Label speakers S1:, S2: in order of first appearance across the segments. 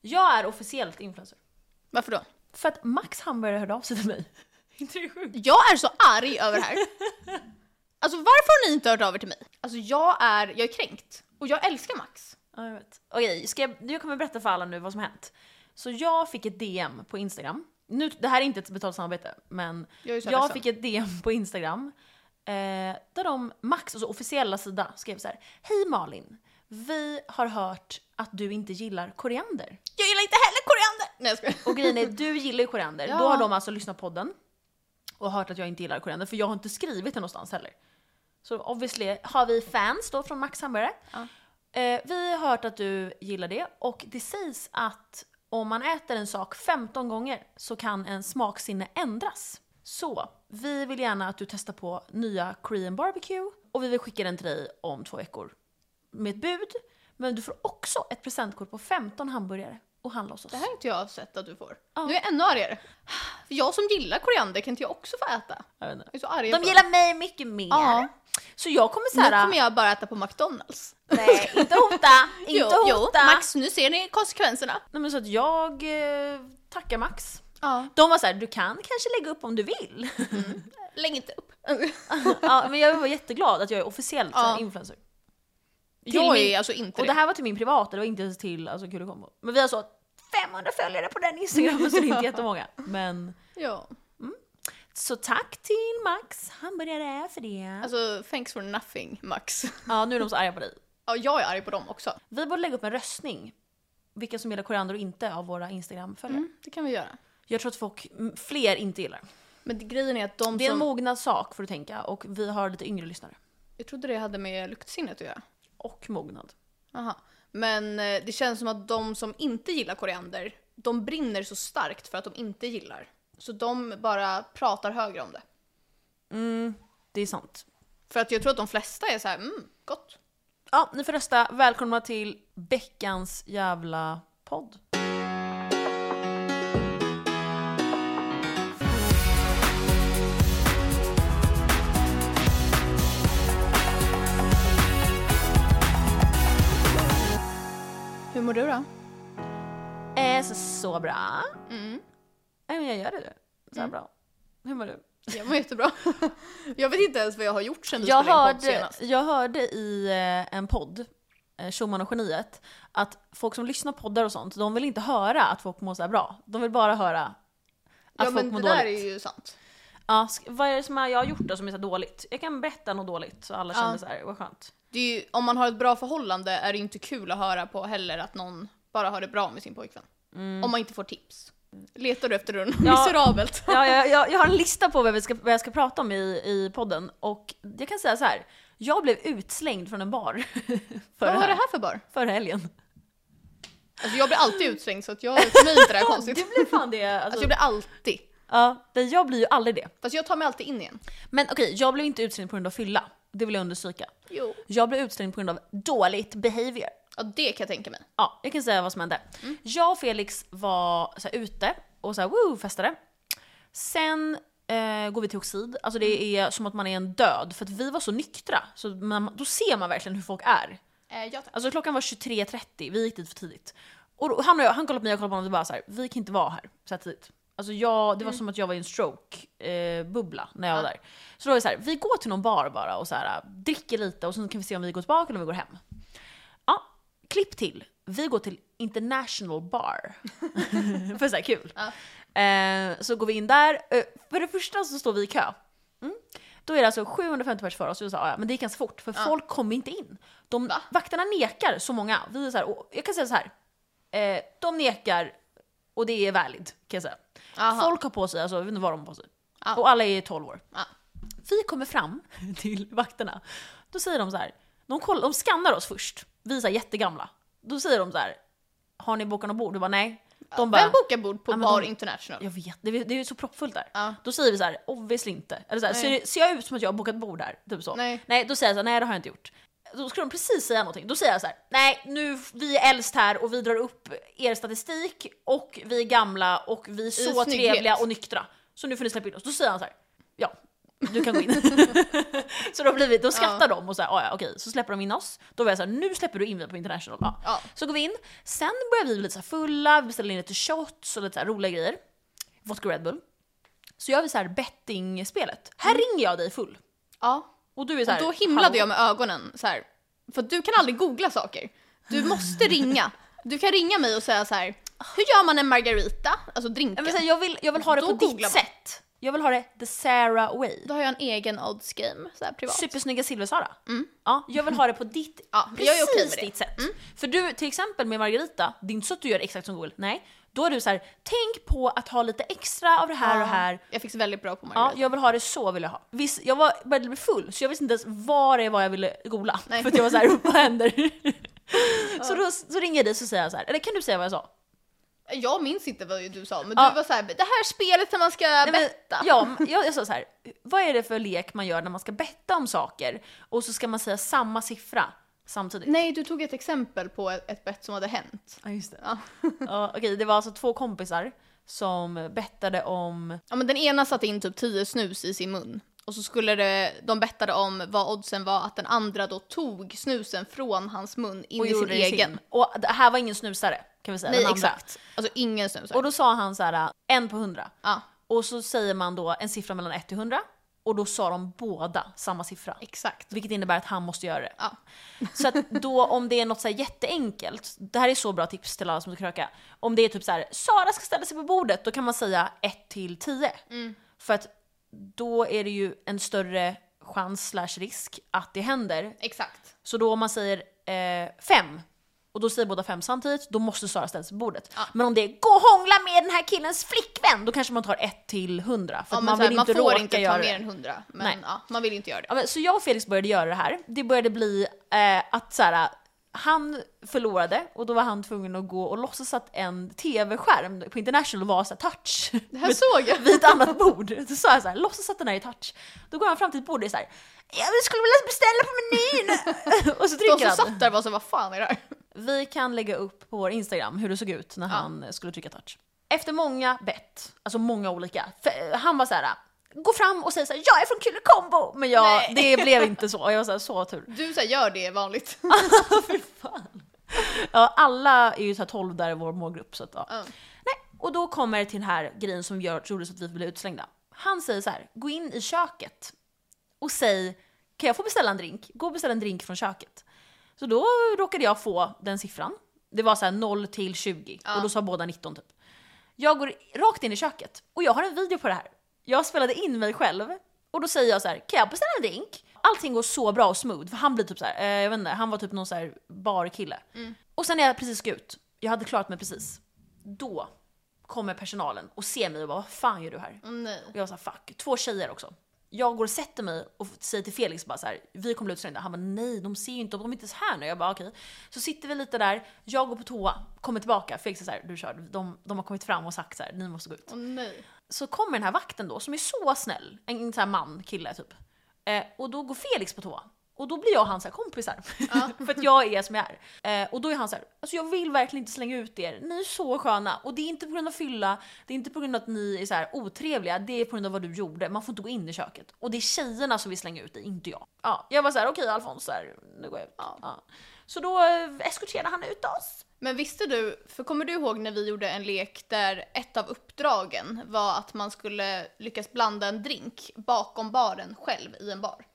S1: Jag är officiellt influencer.
S2: Varför då?
S1: För att Max Hamburgare hörde av sig till mig. inte det sjukt?
S2: Jag är så arg över det här. Alltså varför har ni inte hört av er till mig? Alltså jag är, jag är kränkt. Och jag älskar Max.
S1: Ja, jag vet. Okej, ska jag, jag kommer berätta för alla nu vad som hänt. Så jag fick ett DM på Instagram. Nu, det här är inte ett betalt samarbete, men
S2: Jag är så
S1: jag
S2: ledsen.
S1: fick ett DM på Instagram. Eh, där de, Max, alltså officiella sida, skrev så här. Hej Malin, vi har hört att du inte gillar koriander.
S2: Jag gillar inte heller koriander! Nej jag skojar.
S1: Och grejen är, du gillar ju koriander.
S2: Ja.
S1: Då har de alltså lyssnat på podden och hört att jag inte gillar koriander, för jag har inte skrivit det någonstans heller. Så obviously har vi fans då från Max Hamburgare.
S2: Ja.
S1: Eh, vi har hört att du gillar det och det sägs att om man äter en sak 15 gånger så kan en smaksinne ändras. Så vi vill gärna att du testar på nya Korean barbecue och vi vill skicka den till dig om två veckor med ett bud. Men du får också ett presentkort på 15 hamburgare och handla hos oss.
S2: Det här har inte jag sett att du får.
S1: Ja.
S2: Nu är jag ännu argare. För jag som gillar koriander kan inte jag också få äta?
S1: Jag vet inte.
S2: Jag är så arg
S1: De
S2: på-
S1: gillar mig mycket mer.
S2: Ja.
S1: Typ. Så jag kommer
S2: Nu
S1: såhär...
S2: kommer jag bara äta på McDonalds.
S1: Nej, inte hota! Inte
S2: jo,
S1: hota!
S2: jo, Max nu ser ni konsekvenserna.
S1: Nej, men så att jag eh, tackar Max.
S2: Ja.
S1: De var såhär, du kan kanske lägga upp om du vill.
S2: Lägg inte upp.
S1: ja, men jag var jätteglad att jag är officiellt
S2: Ja.
S1: ja. influencer.
S2: jag
S1: min-
S2: är alltså inte
S1: Och det här var till min privata, det var inte ens till alltså, Kul och Kombo. Men vi har så 500 följare på den instagramen så det är inte jättemånga. Men,
S2: Ja.
S1: så tack till Max hamburgare för det.
S2: Alltså, thanks for nothing, Max.
S1: Ja, nu är de så arga på dig.
S2: Ja, jag är arg på dem också.
S1: Vi borde lägga upp en röstning. Vilka som gillar koriander och inte av våra Instagram-följare.
S2: Mm, det kan vi göra.
S1: Jag tror att folk, m, fler inte gillar.
S2: Men det- grejen är att de
S1: Det är en
S2: som...
S1: mognad sak får du tänka och vi har lite yngre lyssnare.
S2: Jag trodde det hade med luktsinnet att göra.
S1: Och mognad.
S2: Aha. Men eh, det känns som att de som inte gillar koriander, de brinner så starkt för att de inte gillar. Så de bara pratar högre om det.
S1: Mm, Det är sant.
S2: För att jag tror att de flesta är så här, mm, gott.
S1: Ja, ni får rösta. Välkomna till veckans jävla podd.
S2: Hur mår du då?
S1: Eh, så, så bra.
S2: Mm.
S1: Nej men jag gör det. Så här bra. Hur mår du?
S2: Jag mår jättebra. jag vet inte ens vad jag har gjort sen vi
S1: Jag
S2: spelade in podd
S1: hörde,
S2: senast.
S1: jag hörde i eh, en podd, eh, Schumann och geniet, att folk som lyssnar på poddar och sånt, de vill inte höra att folk mår så här bra. De vill bara höra att
S2: Ja
S1: folk
S2: men det
S1: mår
S2: där
S1: dåligt.
S2: är ju sant.
S1: Ja, sk- vad är det som jag har gjort då som är så här dåligt? Jag kan berätta något dåligt så alla
S2: Ja.
S1: känner så här, vad skönt.
S2: Det är ju, om man har ett bra förhållande är det ju inte kul att höra på heller att någon bara har det bra med sin pojkvän. Om man inte får tips. Letar du efter något
S1: Ja.
S2: miserabelt?
S1: Ja, jag, jag, jag har en lista på vad, vi ska, vad jag ska prata om i, i podden och jag kan säga så här. Jag blev utslängd från en bar
S2: Vad
S1: förra,
S2: var det här för bar?
S1: förra helgen.
S2: Alltså jag blir alltid utslängd så att jag, för mig är inte det här
S1: Du
S2: konstigt. Alltså
S1: blir fan det. Alltså,
S2: jag blir alltid.
S1: ja, det, jag blir ju aldrig det.
S2: Fast jag tar mig alltid in igen.
S1: Men okej, jag blev inte utslängd på grund av fylla. Det vill jag understryka.
S2: Jo.
S1: Jag blev utslängd på grund av dåligt behavior.
S2: Ja det kan jag tänka mig.
S1: Ja, jag kan säga vad som hände. Jag och Felix var så här, ute och så här, woo, festade. Sen eh, går vi till Oxid, alltså det är som att man är en död för att vi var så nyktra. Så man, då ser man verkligen hur folk är.
S2: Eh, jag tar.
S1: Alltså klockan var 23.30, vi gick dit för tidigt. Och då, han, och jag, han kollade på mig och kollade på honom och bara så här, vi kan inte vara här så här tidigt. Alltså jag, det var som att jag var i en stroke-bubbla när jag var där. Så då var det så här, vi går till någon bar bara och så här, dricker lite och sen kan vi se om vi går tillbaka eller om vi går hem. Ja, klipp till. Vi går till International Bar. för så här kul. Eh, så går vi in där. Eh, för det första så står vi i kö. Mm. Då är det alltså 750 personer för oss. Och så, ja, men det gick ganska fort för folk kom inte in. De,
S2: Va?
S1: vakterna nekar så många. Vi är så här, och jag kan säga så här. Eh, de nekar och det är valid kan jag säga.
S2: Aha.
S1: Folk har på sig, alltså jag vet inte vad de har på sig.
S2: Ja.
S1: Och alla är 12 år.
S2: Ja.
S1: Vi kommer fram till vakterna. Då säger de så här. De, koll, de skannar oss först. Vi är så här jättegamla. Då säger de så här. Har ni bokat något bord? Du bara nej. De bara,
S2: Vem bokar bord på
S1: Ja, men
S2: Bar
S1: de-
S2: International?
S1: jag vet, det är, det är ju så proppfullt där.
S2: Ja.
S1: Då säger vi så här, obviously inte. Eller så här,
S2: Nej.
S1: ser, ser jag ut som att jag har bokat bord där? Typ så.
S2: Nej.
S1: då säger jag så här, nej det har jag inte gjort. Då skulle de precis säga någonting. Då säger jag så här, nej nu, vi är äldst här och vi drar upp er statistik och vi är gamla och vi är så
S2: snygghet.
S1: trevliga och nyktra. Så nu får ni släppa in oss. Då säger han så här, ja du kan gå in. så då, blir vi, då skrattar de och så här, "Ah, ja, okej, så släpper de in oss. Då var jag så här, nu släpper du in vi på international. Ja.
S2: Ja.
S1: Så går vi in, sen börjar vi bli lite så här fulla, vi beställer in lite shots och lite så här roliga grejer. Vodka Red Bull. Så gör vi så här bettingspelet. Här ringer jag dig full.
S2: ja.
S1: Och du är så här,
S2: Mm. Och då himlade
S1: hallå?
S2: jag med ögonen så här. För du kan aldrig googla saker. Du måste ringa. Du kan ringa mig och säga så här. Hur gör man en margarita? Alltså
S1: Ja,
S2: drinken.
S1: men så här, jag, vill, jag vill ha det
S2: Då
S1: på ditt
S2: googlar man.
S1: sätt. Jag vill ha det the Sarah way.
S2: Då har jag en egen odds game så här, privat.
S1: Supersnygga Silver-Sara. Ja, jag vill ha det på ditt,
S2: Mm. Ja,
S1: precis
S2: jag är okej med det. Mm.
S1: ditt sätt. För du, till exempel med Margarita, det är inte så att du gör exakt som Google. Nej, då är du så här, tänk på att ha lite extra av det här och här.
S2: Ah. Jag fick väldigt bra på
S1: Ja,
S2: margarita.
S1: jag vill ha det så vill jag ha. Visst, jag var, började bli full så jag visste inte ens vad det var jag ville googla.
S2: Nej.
S1: För att jag var så här, vad händer? så då så ringer jag dig så säger jag så här, eller kan du säga vad jag sa?
S2: Jag minns inte vad du sa men
S1: Ja.
S2: du var så här. Det här spelet när man ska
S1: Nej, men-
S2: betta.
S1: Ja, m- jag, jag sa så här. vad är det för lek man gör när man ska betta om saker och så ska man säga samma siffra samtidigt?
S2: Nej du tog ett exempel på ett, ett bett som hade hänt.
S1: Ja, just det.
S2: Ja.
S1: Ja, Okej, det var alltså två kompisar som bettade om...
S2: Ja men den ena satte in typ 10 snus i sin mun. Och så skulle det, de bettade om vad oddsen var att den andra då tog snusen från hans mun in
S1: Och
S2: i sin
S1: gjorde det
S2: egen.
S1: E Och det här var ingen snusare, kan vi säga.
S2: Nej
S1: den andra.
S2: exakt. Alltså ingen snusar.
S1: Och då sa han så här, en på hundra.
S2: ja
S1: Och så säger man då en siffra mellan 1 till 100. Och då sa de båda samma siffra.
S2: exakt.
S1: Vilket innebär att han måste göra det.
S2: Ja.
S1: Så att då om det är något så här jätteenkelt, det här är så bra tips till alla som ska kröka. Om det är typ så här, Sara ska ställa sig på bordet, då kan man säga 1 till 10. För att då är det ju en större chans slash risk att det händer.
S2: Exakt.
S1: Så då om man säger 5, och då säger båda fem samtidigt, då måste Sara ställa sig på bordet. Men om det är gå och hångla med den här killens flickvän, då kanske man tar 1 till 100. För
S2: Ja,
S1: att
S2: men
S1: man
S2: så här,
S1: vill
S2: man
S1: inte
S2: får
S1: råka
S2: inte ta
S1: göra
S2: mer
S1: det.
S2: än 100.
S1: Nej.
S2: Men ja, man vill ju inte göra det.
S1: Ja, men, så jag och Felix började göra det här. Det började bli eh, att så här, han förlorade och då var han tvungen att gå och låtsas att en tv-skärm på international var så här, touch
S2: Det här såg jag.
S1: vid ett annat bord. Så sa jag så här, låtsas att den här är touch. Då går han fram till ett bord och är så här, jag skulle vilja beställa på menyn! och så
S2: De
S1: trycker
S2: som
S1: han.
S2: satt där var så vad fan är det här?
S1: Vi kan lägga upp på vår Instagram hur det såg ut när han skulle trycka touch. Efter många bett, alltså många olika, för eh, han var så här. Gå fram och säg såhär “Jag är från Kille Combo!” Men jag,
S2: Nej.
S1: det blev inte så, jag var såhär “Så tur”.
S2: Du så här, gör det vanligt.
S1: Ja, alla är ju såhär 12 där i vår målgrupp så att, ja.
S2: Ja.
S1: Nej, och då kommer det till den här grejen som gör, gjorde så att vi blev utslängda. Han säger så här: “Gå in i köket och säg “Kan jag få beställa en drink?” Gå och beställ en drink från köket. Så då råkade jag få den siffran. Det var så här 0 till 20 och då sa båda 19 typ. Jag går rakt in i köket och jag har en video på det här. Jag spelade in mig själv och då säger jag så här: kan jag beställa en drink? Allting går så bra och smooth för han blir typ så här, eh, jag vet inte, han var typ någon så här barkille. Och sen när jag precis ska ut, jag hade klarat mig precis, då kommer personalen och ser mig och bara vad fan gör du här?
S2: Åh, Nej.
S1: Och jag sa fuck, två tjejer också. Jag går och sätter mig och säger till Felix bara så här, vi kommer bli utslängda. Han bara nej, de ser ju inte, de är inte ens här nu. Jag bara okej. Så sitter vi lite där, jag går på toa, kommer tillbaka. Felix är så här, du kör, de, de har kommit fram och sagt så här, ni måste gå ut.
S2: Åh, nej.
S1: Så kommer den här vakten då som är så snäll, en sån här man, kille typ. Eh, och då går Felix på toa. Och då blir jag och han så här kompisar. för att jag är som jag är. Eh, och då är han så här, alltså jag vill verkligen inte slänga ut er, ni är så sköna. Och det är inte på grund av fylla, det är inte på grund av att ni är så här otrevliga, det är på grund av vad du gjorde. Man får inte gå in i köket. Och det är tjejerna som vill slänga ut dig, inte jag. Ja, jag var så här, okej Alfons, så här, nu går jag ut. Ja. Så då eh, eskorterade han ut oss.
S2: Men visste du, för kommer du ihåg när vi gjorde en lek där ett av uppdragen var att man skulle lyckas blanda en drink bakom baren själv i en bar?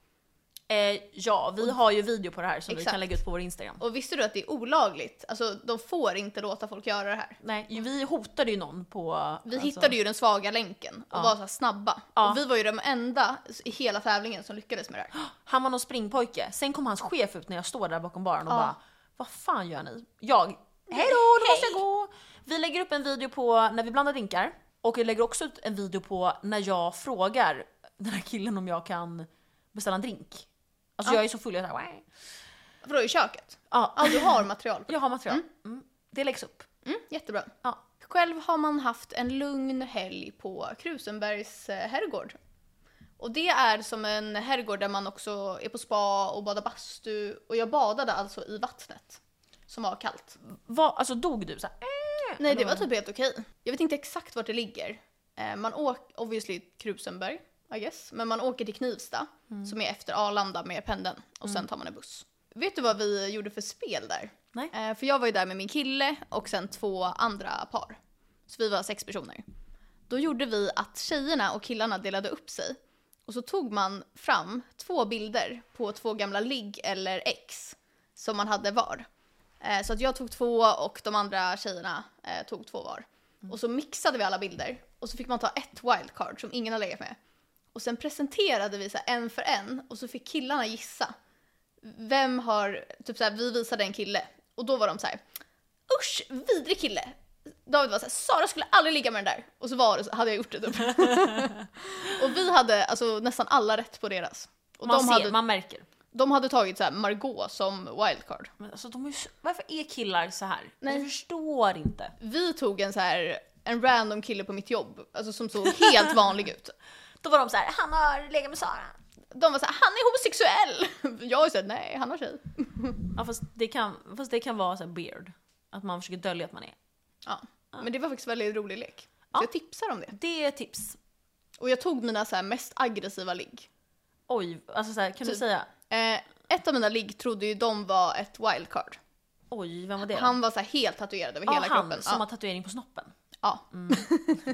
S1: Eh, ja, vi har ju video på det här som vi
S2: Exakt.
S1: kan lägga ut på vår Instagram.
S2: Och visste du att det är olagligt? Alltså de får inte låta folk göra det här.
S1: Nej, ju- vi hotade ju någon på... alltså,
S2: Vi hittade ju den svaga länken och var så här snabba.
S1: Ja.
S2: Och vi var ju de enda i hela tävlingen som lyckades med det här.
S1: Han var någon springpojke, sen kom hans chef ut när jag står där bakom baren och
S2: Ja.
S1: bara Vad fan gör ni? Jag, hej då, nu måste jag gå! Vi lägger upp en video på när vi blandar drinkar och vi lägger också ut en video på när jag frågar den här killen om jag kan beställa en drink. Alltså jag är så full, jag är såhär "Wah."
S2: För då är ju köket.
S1: ja,
S2: Ja, du har material. på det.
S1: Jag har material. Mm. Det läggs upp.
S2: Mm, jättebra.
S1: Ja.
S2: Själv har man haft en lugn helg på Krusenbergs eh, herrgård. Och det är som en herrgård där man också är på spa och badar bastu. Och jag badade alltså i vattnet. Som var kallt.
S1: Vad- alltså dog du såhär?
S2: Nej det var typ helt okej. Jag vet inte exakt vart det ligger. Eh, Man åker obviously Krusenberg. I guess. Men man åker till Knivsta, som är efter Arlanda med pendeln, och sen tar man en buss. Vet du vad vi gjorde för spel där?
S1: Nej.
S2: Eh, för jag var ju där med min kille och sen två andra par. Så vi var sex personer. Då gjorde vi att tjejerna och killarna delade upp sig. Och så tog man fram två bilder på två gamla ligg eller ex som man hade var. Eh, Så att jag tog två och de andra tjejerna eh, tog två var. Och så mixade vi alla bilder och så fick man ta ett wildcard som ingen har legat med. Och sen presenterade vi så här en för en och så fick killarna gissa. Vem har, typ så här, vi visade en kille och då var de så här usch vidrig kille. David var såhär, Sara skulle aldrig ligga med den där. Och så var det, så hade jag gjort det typ. och vi hade alltså nästan alla rätt på deras. Och
S1: man
S2: de,
S1: ser,
S2: hade,
S1: man märker.
S2: de hade tagit så här Margot som wildcard.
S1: Men alltså, de är ju, så- varför är killar så här?
S2: Nej.
S1: Jag förstår inte.
S2: Vi tog en så här en random kille på mitt jobb, alltså som såg helt vanlig ut.
S1: Då var de så här, han har legat med Sara.
S2: De var såhär, han är homosexuell! Jag är såhär, nej han har tjej.
S1: Ja, fast, det kan, fast det kan vara så här beard. Att man försöker dölja att man är.
S2: Ja. Men det var faktiskt en väldigt rolig lek.
S1: Ja.
S2: Så jag tipsar om det.
S1: Det är tips.
S2: Och jag tog mina så här mest aggressiva ligg.
S1: Oj, alltså så här, kan du
S2: Typ.
S1: säga?
S2: Eh, ett av mina ligg trodde ju de var ett wildcard.
S1: Oj, vem var det? då?
S2: Han var så här helt tatuerad över
S1: ja,
S2: hela
S1: han
S2: kroppen.
S1: som Mm.
S2: ja.
S1: har tatuering på snoppen.
S2: Ja.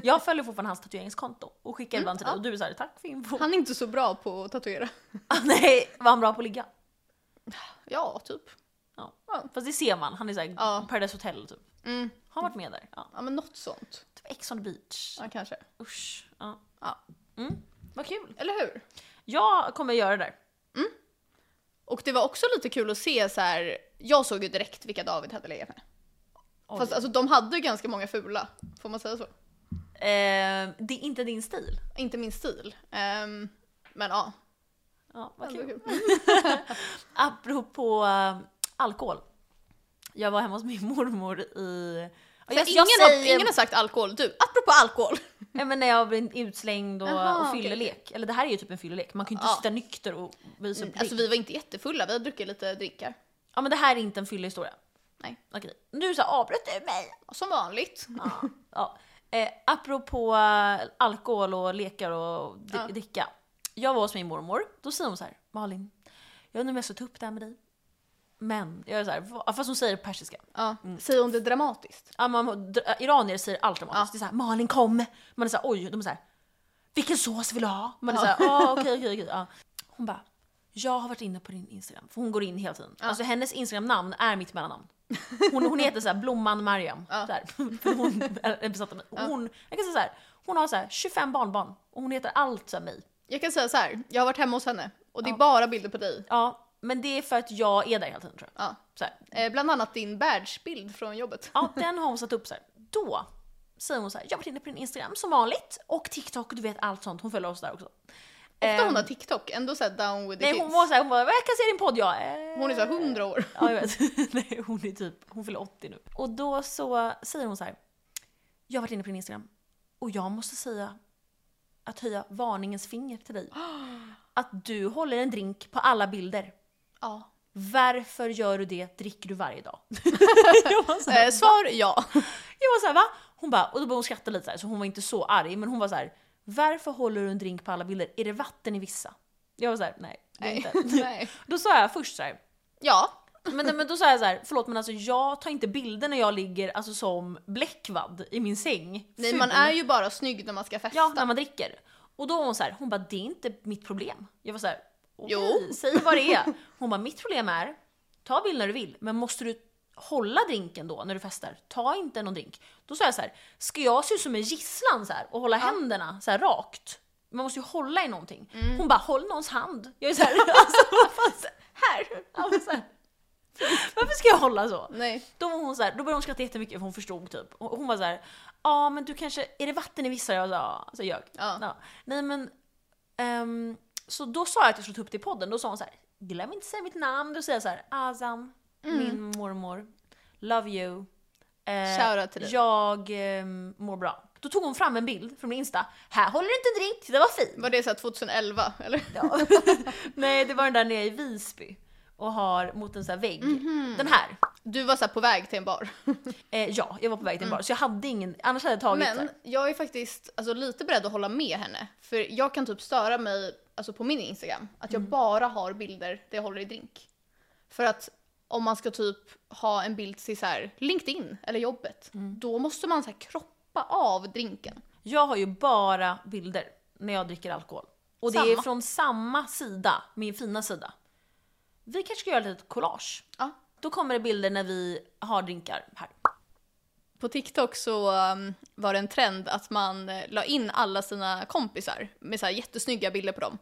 S1: Jag följer fortfarande hans tatueringskonto och skickar ibland till dig
S2: ja.
S1: och du är såhär tack för info.
S2: Han är inte så bra på att tatuera.
S1: Nej, var han bra på att ligga?
S2: Ja, typ.
S1: Ja.
S2: Ja.
S1: Fast det ser man, han är såhär
S2: Ja.
S1: Paradise Hotel typ.
S2: Mm.
S1: Har han varit med där? Ja.
S2: Ja, men något sånt.
S1: Typ Ex on the beach.
S2: Ja, kanske.
S1: Usch. Ja.
S2: Ja.
S1: Mm. Vad kul.
S2: Eller hur?
S1: Jag kommer göra det där.
S2: Och det var också lite kul att se så här. jag såg ju direkt vilka David hade legat med.
S1: Oj.
S2: Fast alltså, de hade ju ganska många fula, får man säga så?
S1: Eh, det är inte din stil.
S2: Inte min stil. Ehm, men ja,
S1: Ja, vad
S2: ändå
S1: kul. Mm.
S2: kul.
S1: Apropå eh, alkohol. Jag var hemma hos min mormor i...
S2: För
S1: Jag,
S2: ingen,
S1: jag
S2: har,
S1: säger,
S2: ingen har sagt alkohol. Du, apropå alkohol.
S1: Nej, men när jag blev utslängd och,
S2: Jaha,
S1: och
S2: okej.
S1: fyllelek. Eller det här är ju typ en fyllelek, man kan ju inte
S2: Ja.
S1: sitta nykter och visa upp
S2: Alltså
S1: alltså,
S2: vi var inte jättefulla, vi hade druckit lite drinkar.
S1: Ja men det här är inte en fyllehistoria.
S2: Nej.
S1: Okej. Nu så avbröt du mig!
S2: Som vanligt.
S1: Ja. ja. Eh, apropå eh, alkohol och lekar och dri-
S2: Ja.
S1: dricka. Jag var hos min mormor, då säger hon så här, Malin, jag undrar om jag ska ta upp det här med dig. Men, jag är så här, "Va?" fast hon säger det på persiska.
S2: Ja.
S1: Mm.
S2: Säger hon det dramatiskt?
S1: Ja, man, dr- iranier säger allt dramatiskt. Det är såhär, Malin kom! Man är såhär, oj, de är såhär, vilken sås vill du ha? Man är såhär, ah, okej, okej, okej. ja. Hon bara, jag har varit inne på din Instagram. För hon går in hela tiden. Alltså hennes Instagram-namn är mitt mellannamn. Hon, hon heter såhär Blomman Mariam. Såhär, för hon är besatt av mig. Och Hon, jag kan säga såhär, hon har såhär 25 barnbarn och hon heter allt såhär mig.
S2: Jag kan säga så här. jag har varit hemma hos henne och det är bara bilder på dig.
S1: Ja, men det är för att jag är där hela tiden tror jag.
S2: Ja.
S1: Såhär,
S2: Eh, bland annat din badgebild från jobbet.
S1: Ja, den har hon satt upp så här. Då säger hon så här, jag har varit inne på din Instagram som vanligt och TikTok och du vet allt sånt. Hon följer oss där också.
S2: Ofta hon
S1: Ehm,
S2: har TikTok, ändå såhär down with the
S1: Nej
S2: kids.
S1: hon var så här, hon bara, jag kan se din podd jag. Eh.
S2: Hon är såhär 100 år.
S1: Ja jag vet. Nej hon är typ, hon fyller 80 nu. Och då så säger hon så här, jag har varit inne på din Instagram och jag måste säga att höja varningens finger till dig. Att du håller en drink på alla bilder.
S2: Ja.
S1: Varför gör du det? Dricker du varje dag? jag Alltså, var så här,
S2: Eh, svar ja.
S1: Jag var såhär va? Hon bara, och då började hon skratta lite såhär, så hon var inte så arg men hon var så här: Varför håller du en drink på alla bilder? Är det vatten i vissa? Jag var såhär, nej det är
S2: Nej.
S1: inte.
S2: Nej.
S1: Då sa jag först såhär,
S2: Ja.
S1: men, men då sa jag såhär, förlåt men alltså jag tar inte bilder när jag ligger alltså, som bläckvadd i min säng.
S2: Nej
S1: ful."
S2: man är ju bara snygg när man ska festa.
S1: Ja, när man dricker. Och då var hon såhär, hon bara det är inte mitt problem. Jag var såhär, okej,
S2: Jo.
S1: säg vad det är. Hon bara, mitt problem är, ta bild när du vill, men måste du hålla drinken då när du festar? Ta inte någon drink. Då sa jag såhär, ska jag se ut som en gisslan så här och hålla händerna så här rakt? Man måste ju hålla i någonting. Hon bara, håll någons hand. Jag är såhär, alltså, vad fan, så här,
S2: Här!
S1: alltså, så här. varför ska jag hålla så?
S2: Nej.
S1: Då, var hon så här, då började hon skratta jättemycket för hon förstod typ. Och hon var så här, ja men du kanske, är det vatten i vissa? Jag sa, ja. Så jag.
S2: Ja.
S1: Nej men, ehm, så då sa jag att jag skulle ta upp det i podden. Då sa hon så här, glöm inte säga mitt namn. Då säger jag så här, Azam,
S2: Mm.
S1: min mormor, love you. Eh,
S2: Shoutout till dig.
S1: Jag ehm, mår bra. Då tog hon fram en bild från min Insta. Här håller du inte en drink, det var fint.
S2: Var det såhär 2011 eller?
S1: Ja. Nej, det var den där nere i Visby. och har mot en sån här vägg.
S2: Mhm.
S1: Den här.
S2: Du var så här på väg till en bar.
S1: Eh, ja, jag var på väg till en bar så jag hade ingen, annars hade jag tagit så
S2: Mm. Men
S1: här.
S2: jag är faktiskt alltså, lite beredd att hålla med henne. För jag kan typ störa mig alltså, på min Instagram. Att jag bara har bilder där jag håller i drink. För att om man ska typ ha en bild till så här, LinkedIn eller jobbet. Då måste man så här, kroppa av drinken.
S1: Jag har ju bara bilder när jag dricker alkohol. Och det är
S2: Samma.
S1: från samma sida, min fina sida. Vi kanske ska göra ett litet collage.
S2: Ja.
S1: Då kommer det bilder när vi har drinkar här.
S2: På TikTok så um, var det en trend att man eh, la in alla sina kompisar med så här jättesnygga bilder på dem.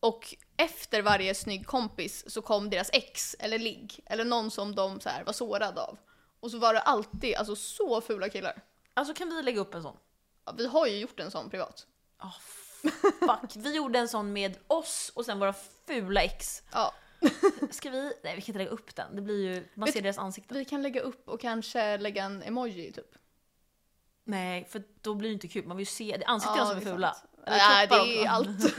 S2: Och efter varje snygg kompis så kom deras ex eller ligg eller någon som de så här var sårade av. Och så var det alltid alltså så fula killar.
S1: Alltså kan vi lägga upp en sån?
S2: Ja, vi har ju gjort en sån privat.
S1: Ah, fuck. Vi gjorde en sån med oss och sen våra fula ex.
S2: Ja,
S1: Ska vi? Nej vi kan inte lägga upp den. Det blir ju, man
S2: Vet-
S1: ser deras ansikten.
S2: vi kan lägga upp och kanske lägga en emoji typ.
S1: Nej för då blir det inte kul. Man vill ju se det är ansiktena
S2: Ja,
S1: som är
S2: det är
S1: fula.
S2: sant.
S1: Eller
S2: Nej, det
S1: kroppar
S2: är
S1: också.
S2: allt.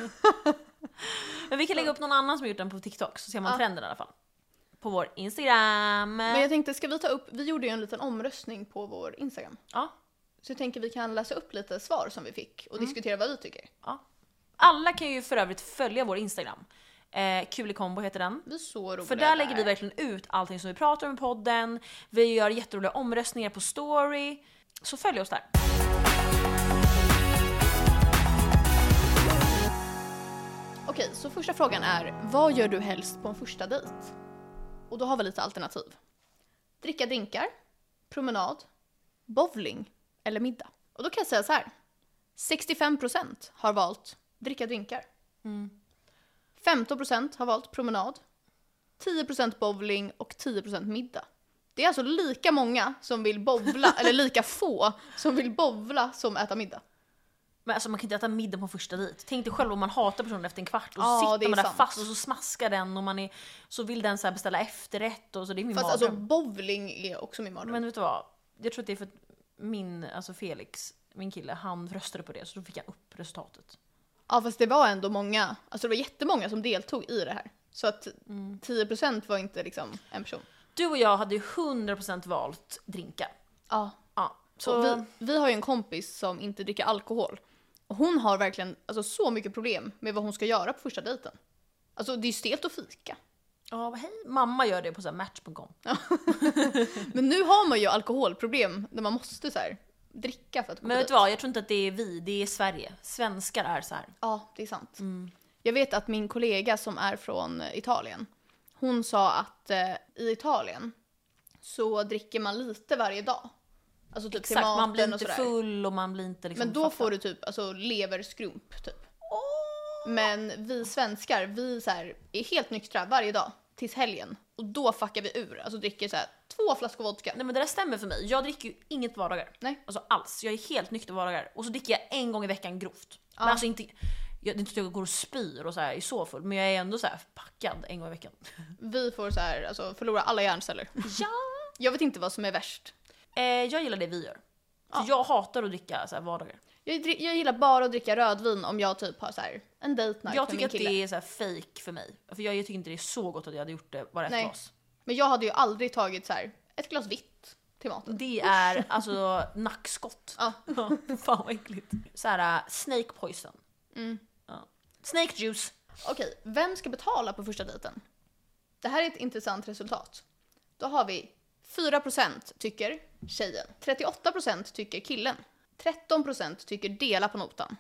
S1: Men vi kan lägga upp någon annan som har gjort den på TikTok så ser man
S2: Ja.
S1: trenden i alla fall. På vår Instagram.
S2: Men jag tänkte, ska vi ta upp, vi gjorde ju en liten omröstning på vår Instagram.
S1: Ja.
S2: Så jag tänker vi kan läsa upp lite svar som vi fick
S1: Mm.
S2: och diskutera vad vi tycker.
S1: Alla kan ju för övrigt följa vår Instagram. Eh, Kul i kombo heter den.
S2: Vi är så roliga
S1: För där lägger vi verkligen ut allting som vi pratar om i podden. Vi gör jätteroliga omröstningar på story. Så följ oss där.
S2: Okej, så första frågan är, vad gör du helst på en första dejt? Och då har vi lite alternativ. Dricka drinkar, promenad, bowling eller middag. Och då kan jag säga så här. 65% har valt dricka drinkar. 15% har valt promenad, 10% bowling och 10% middag. Det är alltså lika många som vill bowla, eller lika få som vill bowla som äta middag.
S1: Men alltså man kan inte äta middag på första dejt. Tänk dig själv om man hatar personen efter en kvart och så
S2: Ja,
S1: sitter
S2: det är
S1: man där
S2: sant.
S1: fast och så smaskar den och man är, så vill den så här beställa efterrätt och så det är min
S2: Fast
S1: mardröm.
S2: alltså bowling är också min mardröm.
S1: Men vet du vad? Jag tror att det är för att min, alltså Felix, min kille, han röstade på det så då fick han upp resultatet.
S2: Ja fast det var ändå många, alltså det var jättemånga som deltog i det här. Så att
S1: Mm.
S2: 10% var inte liksom en person.
S1: Du och jag hade ju 100% valt drinka.
S2: Ja.
S1: Ja, så
S2: Så vi, vi har ju en kompis som inte dricker alkohol. Och hon har verkligen alltså, så mycket problem med vad hon ska göra på första dejten. Alltså det är ju stelt att fika.
S1: ja, hej. Mamma gör det på så här match.com.
S2: Men nu har man ju alkoholproblem där man måste så här, dricka för att gå
S1: Men
S2: på
S1: vet du
S2: dejt.
S1: vad, jag tror inte att det är vi, det är Sverige. Svenskar är så här.
S2: Ja, det är sant.
S1: Mm.
S2: Jag vet att min kollega som är från eh, Italien, hon sa att eh, i Italien så dricker man lite varje dag. Alltså typ till
S1: Exakt, man blir
S2: maten och
S1: inte
S2: sådär.
S1: full och man blir inte liksom
S2: Men då får du typ alltså, leverskrump typ. Men vi svenskar, vi så här, är helt nyktra varje dag tills helgen. Och då fuckar vi ur, alltså dricker så här, två flaskor vodka.
S1: Nej men det där stämmer för mig. Jag dricker ju inget vardagar.
S2: Nej.
S1: Alltså alls. Jag är helt nykter vardagar. Och så dricker jag en gång i veckan grovt. Men alltså inte, jag, det är inte så att jag går och spyr och så här, är så full. Men jag är ändå så här packad en gång i veckan.
S2: Vi får så här, alltså, förlora alla hjärnceller.
S1: ja.
S2: Jag vet inte vad som är värst.
S1: eh, jag gillar det vi gör. För jag hatar att dricka så här vardagar.
S2: Jag, dri- jag gillar bara att dricka rödvin om jag typ har så här en date night
S1: jag
S2: med
S1: tycker
S2: min
S1: att
S2: kille.
S1: det är så här fake för mig. För jag, jag tycker inte det är så gott att jag hade gjort det bara ett
S2: Nej.
S1: glas.
S2: Men jag hade ju aldrig tagit så här ett glas vitt till maten.
S1: Det är alltså nackskott.
S2: Ja.
S1: Fan vad äckligt. Så här, äh, snake poison.
S2: Mm.
S1: Ja. Snake juice.
S2: Okej, vem ska betala på första dejten? Det här är ett intressant resultat. Då har vi 4% tycker tjejen, 38% tycker killen, 13% tycker dela på notan.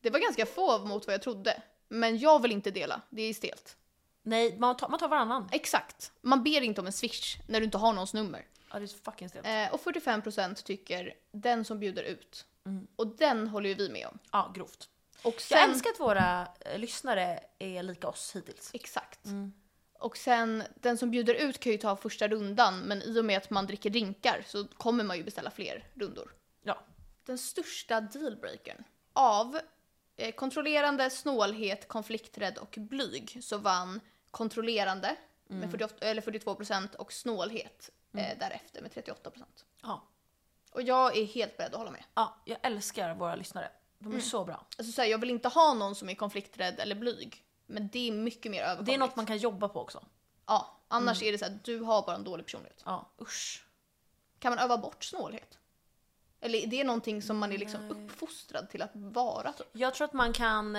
S2: Det var ganska få mot vad jag trodde, men jag vill inte dela, det är stelt.
S1: Nej, man tar, man tar varannan.
S2: Exakt, man ber inte om en swish när du inte har någons nummer.
S1: Ja, det är så fucking stelt.
S2: Eh, och 45% tycker den som bjuder ut. Och den håller ju vi med om.
S1: Ja, grovt.
S2: Och
S1: Jag
S2: sen,
S1: älskar att våra eh, lyssnare är lika oss hittills.
S2: Exakt. Och sen, den som bjuder ut kan ju ta första rundan men i och med att man dricker drinkar så kommer man ju beställa fler rundor.
S1: Ja.
S2: Den största dealbreakern av eh, kontrollerande, snålhet, konflikträdd och blyg så vann kontrollerande med 48, eller 42% och snålhet eh, därefter med 38%.
S1: Ja.
S2: Och jag är helt beredd att hålla med.
S1: ja, jag älskar våra lyssnare. De är så bra.
S2: Alltså så här, jag vill inte ha någon som är konflikträdd eller blyg. Men det är mycket mer
S1: Det är Mm.
S2: överkomligt.
S1: något man kan jobba på också.
S2: Ja, annars är det så här, du har bara en dålig personlighet.
S1: Ja, usch.
S2: Kan man öva bort snålhet? Eller är det någonting som man är liksom uppfostrad till att vara? Typ?
S1: Jag tror att man kan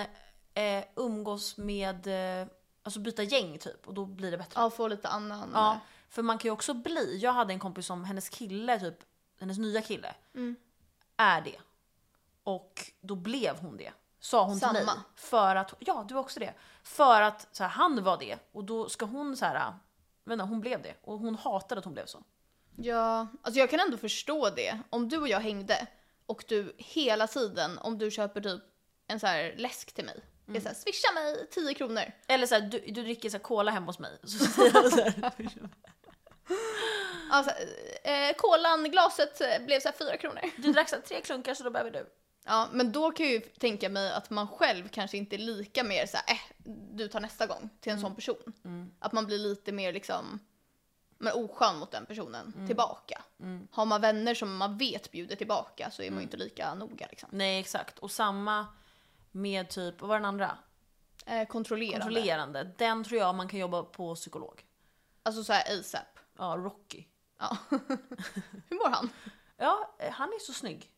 S1: eh, umgås med, eh, alltså byta gäng typ och då blir det bättre.
S2: Ja, få lite annan... eh,
S1: Ja, för man kan ju också bli, jag hade en kompis som hennes kille, typ hennes nya kille, är det. Och då blev hon det. Sa hon till mig.
S2: Samma.
S1: För att, ja du var också det. För att så här, han var det och då ska hon så här, vänta hon blev det. Och hon hatade att hon blev så.
S2: Ja, alltså jag kan ändå förstå det. Om du och jag hängde och du hela tiden, om du köper typ en så här läsk till mig. Det
S1: Mm.
S2: är så här, swisha mig 10 kronor.
S1: Eller så här, du, du dricker så här, cola hemma hos mig. Så säger han så här,
S2: Alltså, eh, kolan, glaset eh, blev så här 4 kronor.
S1: du drack så här, tre klunkar så då behöver du.
S2: Ja, men då kan jag ju tänka mig att man själv kanske inte är lika mer så här, eh, du tar nästa gång till en
S1: Mm.
S2: sån person. Att man blir lite mer liksom, men oskön mot den personen
S1: Mm.
S2: tillbaka. Har man vänner som man vet bjuder tillbaka så är man
S1: Mm.
S2: ju inte lika noga liksom.
S1: Nej exakt. Och samma med typ, vad var den andra?
S2: Eh, kontrollerande.
S1: Kontrollerande. Den tror jag man kan jobba på psykolog.
S2: Alltså så här ASAP.
S1: Ja, Rocky.
S2: Ja. Hur mår han?
S1: Ja, eh, han är så snygg.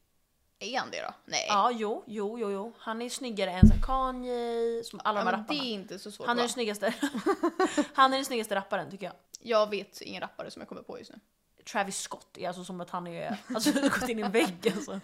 S2: Är han det då? Nej.
S1: Ja, jo, jo, jo, jo. Han är snyggare än så här Kanye, som alla
S2: Ja,
S1: de här
S2: men det är
S1: rapparna.
S2: inte så svårt.
S1: Han är,
S2: va?
S1: den snyggaste. han är den snyggaste rapparen tycker jag.
S2: Jag vet ingen rappare som jag kommer på just nu.
S1: Travis Scott är alltså som att han är, alltså han har gått in i en vägg alltså.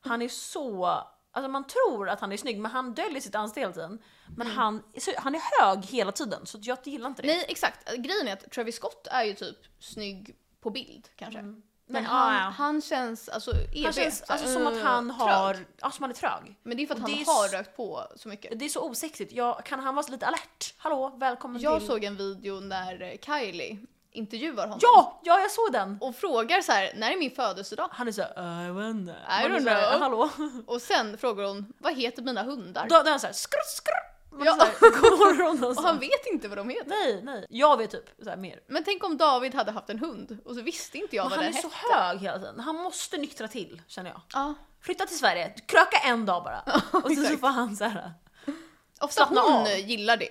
S1: Han är så, alltså man tror att han är snygg men han döljer sitt ansikte hela tiden. Men han, så, han är hög hela tiden så att jag gillar inte det.
S2: Mm. Nej exakt, grejen är att Travis Scott är ju typ snygg på bild kanske.
S1: Mm.
S2: Men
S1: Ja,
S2: han,
S1: ja.
S2: han känns alltså EB.
S1: han känns
S2: så här,
S1: alltså, som att
S2: mm,
S1: han har,
S2: trög.
S1: ja som han är trög.
S2: Men det är för att
S1: och
S2: han
S1: det är
S2: har
S1: s-
S2: rökt på så mycket.
S1: Det är så osexigt, jag, kan han vara lite alert? Hallå, välkommen
S2: Jag
S1: till...
S2: såg en video när eh, Kylie intervjuar honom.
S1: Ja, ja jag såg den!
S2: Och frågar så här, när är min födelsedag?
S1: Han är såhär, I vet inte.
S2: I
S1: Man är
S2: don't
S1: så här,
S2: know.
S1: Hallå?
S2: Och sen frågar hon, vad heter mina hundar?
S1: Då, då är han såhär skrrt skrrt. Man
S2: Ja.
S1: så här, går hon och
S2: Och
S1: så-
S2: han vet inte vad de heter.
S1: Nej, nej. Jag vet typ så här, mer.
S2: Men tänk om David hade haft en hund och så visste inte jag
S1: Men
S2: vad
S1: han
S2: den
S1: är
S2: hette.
S1: så hög hela tiden. Han måste nyktra till känner jag.
S2: Ja.
S1: Flytta till Sverige, kröka en dag bara. Och sen så
S2: exakt.
S1: får han så här.
S2: Ofta
S1: Slappna
S2: hon
S1: av.
S2: gillar det.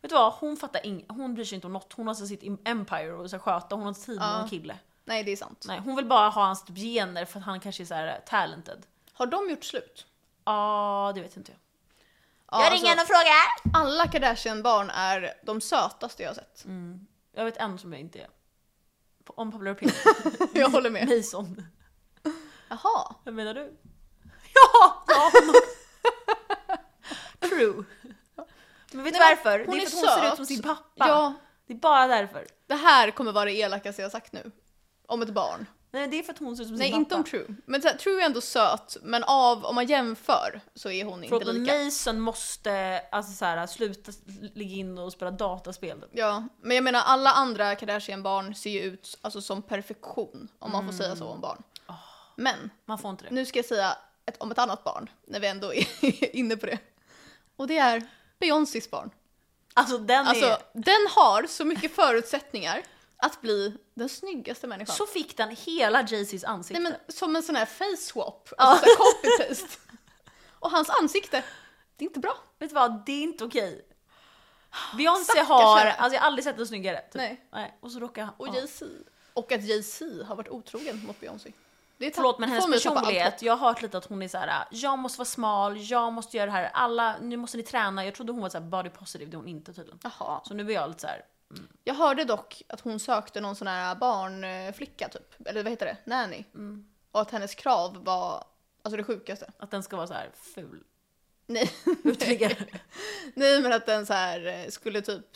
S1: Vet du vad, hon fattar ing- hon bryr sig inte om något. Hon har så sitt im- empire och så här, sköta, hon har inte tid med
S2: Ja.
S1: någon kille.
S2: Nej, det är sant.
S1: Nej, hon vill bara ha hans typ gener för att han kanske är så här talented.
S2: Har de gjort slut?
S1: Ja, det vet inte jag.
S2: Ja, alltså,
S1: och frågar!
S2: alla Kardashian-barn är de sötaste jag har sett.
S1: Mm. Jag vet en som jag inte är. P- Om Pablo Pink.
S2: Jag håller med.
S1: Mason.
S2: Jaha.
S1: Vad menar du? Ja! ja hon True. Men vet du
S2: Nej, men
S1: varför?
S2: hon
S1: det är, för att hon ser
S2: är söt.
S1: ut som sin pappa.
S2: Ja,
S1: Det är bara därför.
S2: det här kommer vara det elakaste jag har sagt nu. Om ett barn.
S1: Nej det är för att hon ser ut som
S2: Nej,
S1: sin
S2: inte
S1: pappa.
S2: om True. Men så här, True är ändå söt, men av, om man jämför så är hon
S1: Förlåt
S2: inte
S1: men
S2: lika.
S1: Mason måste alltså, så här, sluta ligga in och spela dataspel.
S2: Ja, men jag menar alla andra Kardashian-barn ser ju ut alltså, som perfektion, om man får säga så om barn.
S1: Mm. Ah.
S2: Men
S1: Man får inte det.
S2: Nu ska jag säga ett, om ett annat barn, när vi ändå är inne på det. Och det är Beyoncés barn.
S1: Alltså den
S2: Alltså,
S1: är...
S2: den har så mycket förutsättningar att bli den snyggaste människan.
S1: Så fick den hela Jay-Zs ansikte.
S2: Nej, men, som en sån här face swap, alltså ja. copy-paste. Och hans ansikte, det är inte bra.
S1: Vet du vad, det är inte okej. Beyoncé
S2: Stackars
S1: har,
S2: henne.
S1: alltså jag har aldrig sett en snyggare. Typ.
S2: Nej.
S1: Och så råkar han...
S2: Och
S1: ja.
S2: Jay-Z. Och att Jay-Z har varit otrogen mot Beyoncé. Det är tapp-
S1: Förlåt men
S2: det
S1: hennes
S2: får mig att tappa allt hopp.
S1: personlighet, jag har hört lite att hon är så här: jag måste vara smal, jag måste göra det här, alla, nu måste ni träna. Jag trodde hon var så här body positive, det är hon inte tydligen.
S2: Jaha.
S1: Så nu blir jag lite så här.
S2: Jag hörde dock att hon sökte någon sån här barnflicka typ, eller vad heter det, nanny.
S1: Mm.
S2: Och att hennes krav var, alltså det sjukaste.
S1: att den ska vara så här ful.
S2: Nej,
S1: Uteliggare.
S2: nej men att den så här eh, skulle typ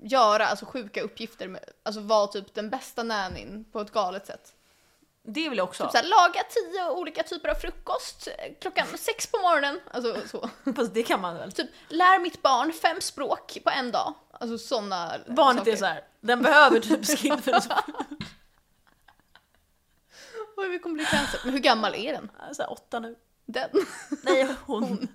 S2: göra alltså sjuka uppgifter, med, alltså vara typ den bästa nannyn på ett galet sätt.
S1: Det vill jag också
S2: Typ så här, laga tio olika typer av frukost eh, klockan sex på morgonen. Alltså så.
S1: Fast det kan man väl?
S2: Typ lär mitt barn fem språk på en dag. Alltså sådana
S1: Barnet är så här, den behöver typ skillfilms.
S2: Oj, vi kommer bli cancer. Men hur gammal är den?
S1: Såhär åtta nu.
S2: Den?
S1: Nej hon.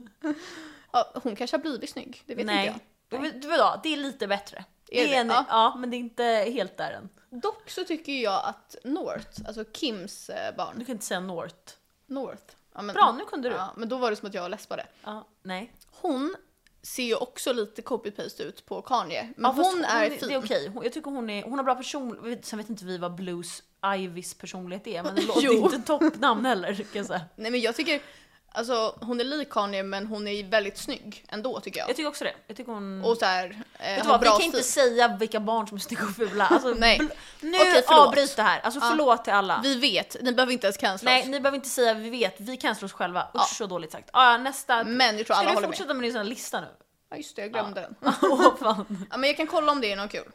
S2: Ja, hon kanske har blivit snygg, det vet inte jag.
S1: Nej. Du vet du vet vad, det är lite bättre.
S2: Är
S1: det är
S2: det?
S1: en, ja.
S2: Ja.
S1: men det är inte helt där än.
S2: Dock så tycker ju jag att North, alltså Kims eh,
S1: Du
S2: barn,
S1: kan inte säga North.
S2: North. Ja, men,
S1: Bra, nu kunde du.
S2: Ja, men då var det som att jag läspade.
S1: Ja, nej.
S2: Hon ser ju också lite copy-paste ut på Kanye.
S1: Ja,
S2: Men
S1: fast
S2: hon är fin.
S1: Det är okej. Hon- Jag tycker hon, är, hon har bra personlighet. Sen vet inte vi vad Blues Ivys personlighet är, men det låter
S2: Jo.
S1: inte toppnamn heller. Kan jag, säga.
S2: Nej men jag tycker, alltså hon är lik Kanye men hon är väldigt snygg ändå tycker jag.
S1: jag tycker också det. Jag tycker hon...
S2: Och såhär, eh,
S1: Mm. vet du
S2: har
S1: vad, vi
S2: bra
S1: kan
S2: stil.
S1: inte säga vilka barn som är snygga och fula. Alltså,
S2: Nej.
S1: bl- Nu
S2: Okej, förlåt.
S1: avbryt det här. Alltså
S2: Ja.
S1: förlåt till alla.
S2: Vi vet, ni behöver inte ens cancella
S1: Nej,
S2: oss.
S1: ni behöver inte säga vi vet. Vi kan slå oss själva. Usch
S2: Ja.
S1: så dåligt sagt. Ah, ja, nästa.
S2: Men jag tror alla
S1: Ska du
S2: håller med.
S1: fortsätta med din sån här lista nu?
S2: Ja just det, jag glömde den.
S1: Åh fan.
S2: Ja, men jag kan kolla om det är någon kul.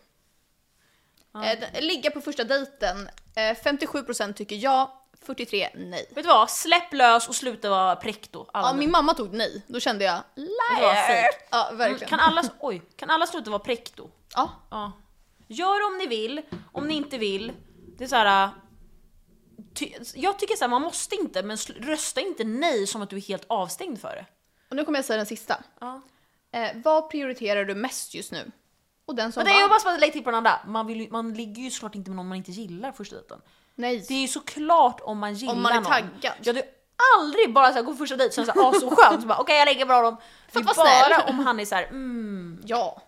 S1: Ja.
S2: Eh, d- ligga på första dejten. Eh, 57% tycker ja, 43% nej.
S1: Vet du vad? Släpp lös och sluta vara präkto. Alla
S2: Ja,
S1: ni.
S2: min mamma tog nej. Då kände jag
S1: Det var
S2: liar.
S1: fake.
S2: Ja,
S1: Mm,
S2: verkligen.
S1: kan, alla, oj, kan alla sluta vara präkto?
S2: Ja,
S1: Ja. Gör om ni vill, om ni inte vill. Det är så här. äh, Ty, jag tycker så här, man måste inte, men sl- rösta inte nej som att du är helt avstängd för det.
S2: och nu kommer jag säga den sista.
S1: Ja.
S2: Eh, vad prioriterar du mest just nu? Och den som
S1: Men det är ju
S2: vann.
S1: bara som att lägga till på den andra. Man, vill, ju- man ligger ju såklart inte med någon man inte gillar första dejten.
S2: Nej.
S1: Det är ju såklart om man gillar
S2: Om man är
S1: någon.
S2: taggad.
S1: Jag hade ju aldrig bara så här, gå på första dejt och känna såhär, ah så skönt, Så bara, okej jag lägger bra dem. Det
S2: För
S1: är
S2: att
S1: bara
S2: vara snäll.
S1: om han är såhär, mm,
S2: Ja.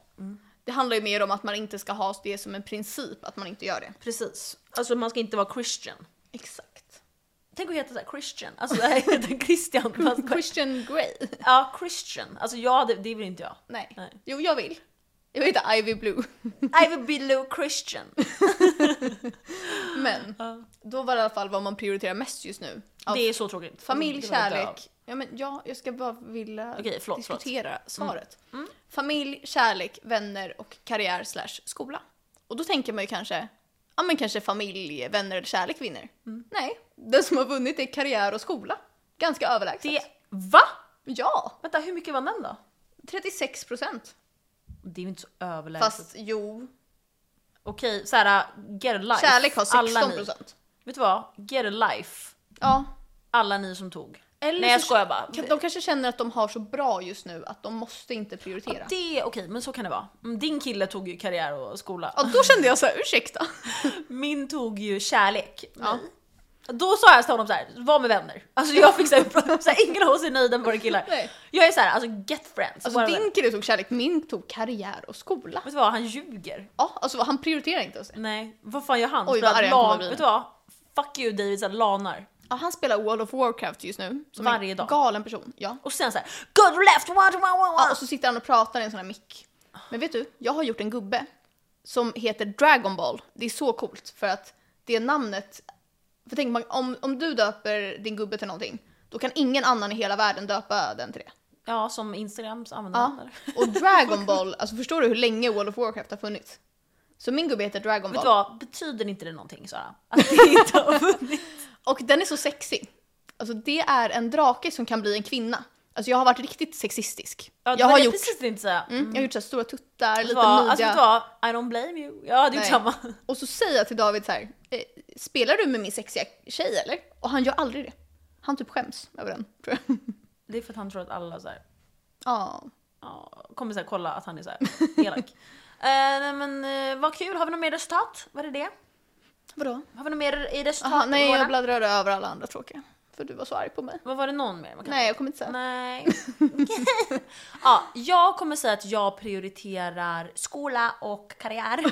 S2: Det handlar ju mer om att man inte ska ha det som en princip att man inte gör det.
S1: precis. Alltså man ska inte vara Christian.
S2: Exakt.
S1: Tänk att heta såhär Christian, alltså jag heter Christian. fast-
S2: Alltså, Christian Grey.
S1: Ja, Christian. Alltså jag, hade- det vill inte jag.
S2: Nej.
S1: Nej.
S2: Jo, jag vill. Jag heter Ivy Blue.
S1: I will be Lou Christian.
S2: Men
S1: Ja.
S2: då var det i alla fall vad man prioriterar mest just nu. Av
S1: Det är så tråkigt.
S2: Familj,
S1: Det vill jag dö av.
S2: kärlek. Ja, men ja, jag ska bara vilja
S1: Okej, förlåt, förlåt. Mm.
S2: diskutera svaret. Familj, kärlek, vänner och karriär slash skola. Och då tänker man ju kanske, ja men kanske familj, vänner eller kärlek vinner.
S1: Mm.
S2: Nej, den som har vunnit är karriär och skola. Ganska överlägset.
S1: Det, va?
S2: Ja,
S1: Vänta, hur mycket var den då?
S2: 36 procent.
S1: Det är ju inte så överlägset.
S2: Fast jo,
S1: Okej, såhär, get a life.
S2: kärlek har
S1: Alla
S2: 16
S1: ni.
S2: procent.
S1: Vet du vad? Get a life.
S2: Ja.
S1: Alla ni som tog.
S2: Eller
S1: Nej jag
S2: så-
S1: skojar bara.
S2: De kanske känner att de har så bra just nu att de måste inte prioritera.
S1: Det är okej, men så kan det vara. Mm, Din kille tog ju karriär och skola.
S2: Ja, då kände jag så här, ursäkta.
S1: Min tog ju kärlek.
S2: Ja.
S1: Då sa jag till honom så här, var med vänner. Alltså jag fick så här, så här, ingen av oss är nöjda med våra killar.
S2: Nej.
S1: Jag är så här, alltså get friends.
S2: Alltså
S1: Våra vänner.
S2: din kille tog kärlek, min tog karriär och skola.
S1: Vet du vad, han ljuger.
S2: Ja, alltså han prioriterar inte oss.
S1: Nej, vad fan gör han?
S2: Oj, vad
S1: Spelar
S2: arg han kommer
S1: lan-
S2: bli.
S1: Vet du vad? Fuck you David, så här, lanar.
S2: Ja, han spelar World of Warcraft just nu. Som
S1: Varje
S2: en
S1: dag.
S2: galen person. Ja.
S1: Och sen så här, good left, one, one, one,
S2: ja,
S1: one.
S2: och så sitter han och pratar i en sån här mick. Men vet du, jag har gjort en gubbe som heter Dragon Ball. Det är så coolt för att det namnet... För tänk, man- om, om du döper din gubbe till någonting, då kan ingen annan i hela världen döpa den till det.
S1: Ja, som Instagrams
S2: Ja.
S1: användare.
S2: Och Dragon Ball, alltså förstår du hur länge World of Warcraft har funnits? Så min gubbe heter Dragon
S1: Vet
S2: Ball.
S1: du vad, betyder inte det någonting Sara? Att det inte har vunnit?
S2: Och den är så sexig. Alltså det är en drake som kan bli en kvinna. Alltså jag har varit riktigt sexistisk.
S1: Ja, det
S2: jag,
S1: var
S2: har
S1: det jag
S2: gjort,
S1: precis tänkte säga.
S2: mm, jag har gjort så här stora tuttar,
S1: Vet du
S2: lite
S1: vad?
S2: midja.
S1: Alltså vet du vad, I don't blame you. Jag hade gjort
S2: Nej.
S1: samma.
S2: och så säger jag till David så här, eh, spelar du med min sexiga tjej eller? Och han gör aldrig det. Han typ skäms över den, tror jag.
S1: Det är för att han tror att alla så här,
S2: Ja.
S1: ja, kommer så här, kolla att han är så här, elak. Eh, nej men eh, vad kul, har vi något mer resultat? Var det det?
S2: Vadå?
S1: Har vi något mer i resultat?
S2: Aha, nej,
S1: Lorna?
S2: jag bläddrade över alla andra tråkiga. För du var så arg på mig.
S1: Vad var det någon mer? Man kan-
S2: Nej, jag kommer inte säga.
S1: Nej. ja, jag kommer säga att jag prioriterar skola och karriär.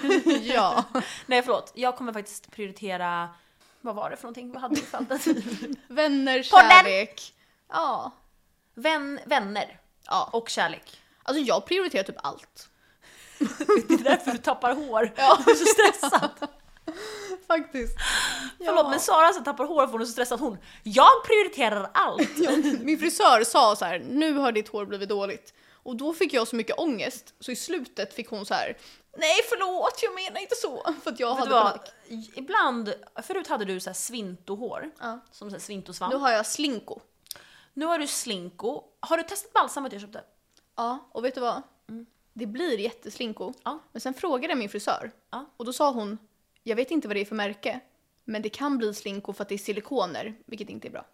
S2: Ja.
S1: nej förlåt, jag kommer faktiskt prioritera, vad var det för någonting? Vad hade vi för alternativ?
S2: Vänner,
S1: Podden!
S2: kärlek. Ja.
S1: Vän, vänner
S2: ja.
S1: och kärlek.
S2: Alltså jag prioriterar typ allt.
S1: Det är därför du tappar hår.
S2: Ja.
S1: Du är så stressad.
S2: Faktiskt.
S1: Förlåt men Sara som tappar hår för hon är så stressad hon. Jag prioriterar allt.
S2: Ja, min frisör sa så här, nu har ditt hår blivit dåligt. Och då fick jag så mycket ångest, så i slutet fick hon så här, nej förlåt jag menar inte så. För att jag
S1: Vet du
S2: hade
S1: vad?
S2: panik.
S1: Ibland, förut hade du så här svintohår.
S2: Ja.
S1: Som så här svintosvamp.
S2: Nu har jag slinko.
S1: Nu har du slinko. Har du testat balsamet jag köpte?
S2: Ja, och vet du vad? Det blir jätteslinko.
S1: Mm. Ja.
S2: Men sen frågade jag min frisör
S1: Ja.
S2: och då sa hon, jag vet inte vad det är för märke, men det kan bli slinko för att det är silikoner, vilket inte är bra.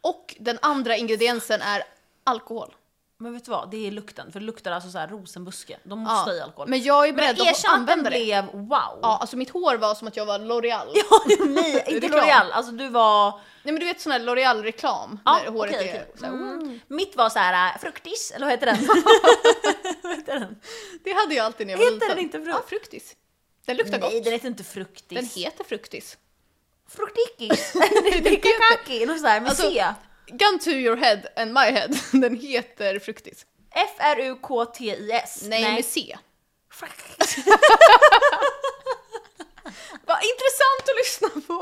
S2: Och den andra ingrediensen är alkohol.
S1: Men vet du vad, det är lukten. För det luktar alltså så här rosenbuske. De
S2: Ja.
S1: måste i alkohol.
S2: Men jag är
S1: Men
S2: beredd att
S1: erkänn att den
S2: använda det.
S1: blev wow.
S2: Ja, alltså mitt hår var som att jag var L'Oreal.
S1: Ja, nej, inte
S2: Reklam.
S1: L'Oreal. Alltså du var...
S2: Nej men du vet sån här L'Oreal-reklam
S1: Ja,
S2: när håret
S1: okej,
S2: är
S1: okej.
S2: så här,
S1: Mm.
S2: "Oh."
S1: Mitt var så här äh, fruktis, eller vad heter den? vad heter den?
S2: Det hade jag alltid när jag var
S1: Heter
S2: liten.
S1: den inte frukt?
S2: Ja, fruktis. Den luktar
S1: Nej,
S2: gott.
S1: den heter inte fruktis.
S2: Den heter fruktis.
S1: Fruktikis. det är kakaki, något sådär med
S2: Alltså-
S1: C.
S2: Gun to your head and my head. Den heter fruktis.
S1: F-R-U-K-T-I-S.
S2: Nej, med C.
S1: Frukt-
S2: Vad intressant att lyssna på!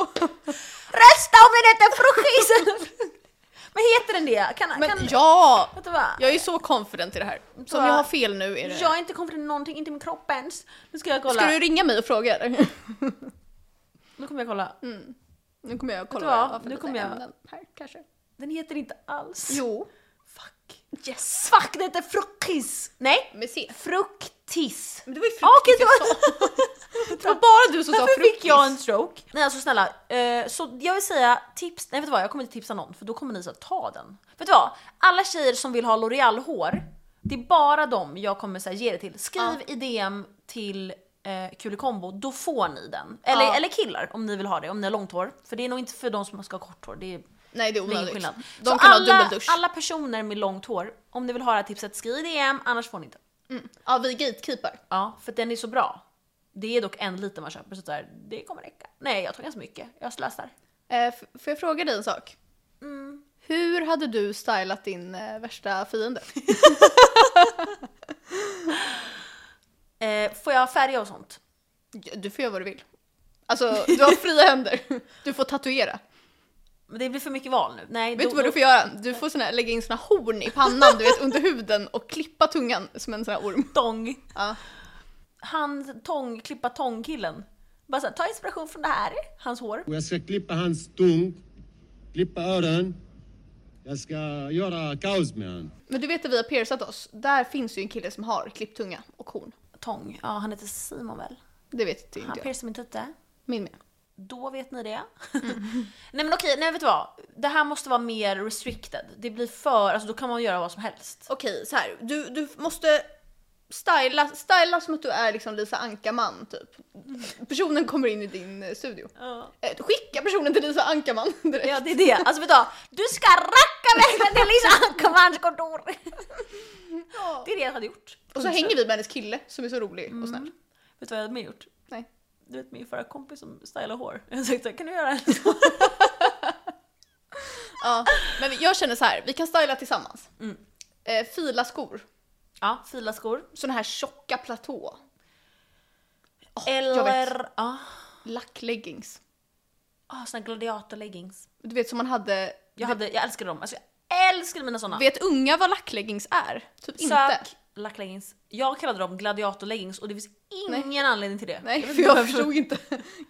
S1: Rösta om den heter fruktis eller frukt- Men heter den det? Kan,
S2: Men
S1: kan,
S2: ja!
S1: vet du vad?
S2: Jag är så confident i det här. Så om
S1: Va?
S2: jag har fel nu är det...
S1: Jag är inte confident i någonting, inte min kropp ens. Nu ska jag kolla.
S2: Ska du ringa mig och fråga eller?
S1: Nu kommer jag kolla.
S2: Mm. Nu kommer jag
S1: Vet
S2: kolla
S1: du vad?
S2: jag har för
S1: Nu kommer
S2: lite
S1: jag-
S2: ämnen Här kanske.
S1: Den heter inte alls.
S2: Jo.
S1: Fuck. Yes. Fuck, det heter fruktis. Nej,
S2: Med C.
S1: fruktis.
S2: Men det var ju fruktis
S1: Ja, Ah, okej, det
S2: jag
S1: var-
S2: sa. Det var bara du som sa
S1: Varför fick
S2: fruktis.
S1: jag en stroke? Nej alltså snälla, eh, så jag vill säga tips, nej vet du vad jag kommer inte tipsa någon för då kommer ni så här, ta den. Vet du vad? Alla tjejer som vill ha L'Oreal hår, det är bara dem jag kommer så här, ge det till. Skriv i DM till eh, Kulikombo, då får ni den. Eller,
S2: Ja.
S1: eller killar om ni vill ha det, om ni har långt hår. För det är nog inte för de som ska ha kort hår, det är
S2: Nej det
S1: det
S2: är
S1: är ingen
S2: onödigt.
S1: skillnad.
S2: De
S1: så
S2: kan ha
S1: alla,
S2: dubbeldusch.
S1: alla personer med långt hår, om ni vill ha det här tipset, skriv i DM, annars får ni inte.
S2: Ja vi gatekeepar.
S1: Ja, för den är så bra. Det är dock en liter man köper, så där, det kommer räcka. Nej, jag tar ganska mycket. Jag slösar.
S2: Eh, f- får jag fråga dig en sak?
S1: Mm.
S2: Hur hade du stylat din eh, värsta fiende?
S1: Eh, får jag färga och sånt?
S2: Du får göra vad du vill. Alltså du har fria händer. Du får tatuera.
S1: Men det blir för mycket val nu. Nej,
S2: Vet
S1: då-
S2: du vad
S1: då-
S2: du får göra? Du får såna, här- lägga in såna horn i pannan, du vet under huden och klippa tungan som en sån här orm.
S1: Tång.
S2: Ja.
S1: Han tång, klippa tångkillen. Bara så här, ta inspiration från det här, hans hår.
S3: Och jag ska klippa hans tung, klippa öron. Jag ska göra kaos med honom.
S2: Men du vet att vi har piercat oss? Där finns ju en kille som har klippt tunga och horn.
S1: Tång, ja han heter Simon väl?
S2: Det vet inte
S1: Han
S2: jag.
S1: piercar min tutte.
S2: Min med.
S1: Då vet ni det.
S2: Mm.
S1: nej men okej, nej vet du vad? Det här måste vara mer restricted. Det blir för, alltså då kan man göra vad som helst.
S2: Okej, så här. Du, du måste styla, styla som att du är liksom Lisa Ankarman typ. Personen kommer in i din eh, studio. Eh, Skicka personen till Lisa Ankarman direkt.
S1: Ja det är det. Alltså vet du vad? Du ska racka vägen till Lisa Ackermans kontor.
S2: Ja. Mm.
S1: Det är det jag hade gjort.
S2: Och så hänger vi med hennes kille som är så rolig och snäll.
S1: Vet du vad jag hade mer gjort?
S2: Nej.
S1: Du vet min förra kompis som stylar hår. Jag sa kan du göra det?
S2: Ja. Men vi- jag känner så här, vi kan styla tillsammans.
S1: Mm.
S2: Eh, fila skor,
S1: Ja, fila skor.
S2: såna här tjocka platå. Åh, Jag vet,
S1: Eller ja,
S2: lackleggings.
S1: ah, såna gladiatorleggings.
S2: Du vet som man hade,
S1: Jag, hade, jag älskade dem. Alltså jag älskade mina såna.
S2: vet unga vad lackleggings är? Typ inte.
S1: Sök lackleggings. Jag kallade dem gladiatorleggings och det finns ingen anledning till det.
S2: Nej, för jag förstod inte.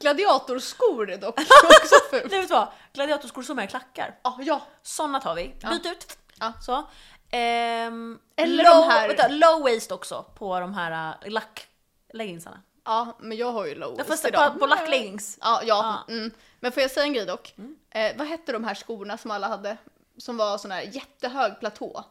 S2: Gladiatorskor är dock också fult.
S1: Nej vet du vad? Gladiatorskor som är klackar.
S2: Ja, ja.
S1: Såna tar vi. Byt ut.
S2: Ja.
S1: Så. Ehm,
S2: Eller
S1: low,
S2: de här-
S1: Vänta, low waist också på de här uh, lackleggingsarna.
S2: ja, men jag har ju low
S1: Jag får
S2: waist
S1: stoppa
S2: idag.
S1: på lackleggings. Mm.
S2: Ja, ja. Mm. Men får jag säga en grej dock? Eh, vad hette de här skorna som alla hade? Som var sån här jättehög platå.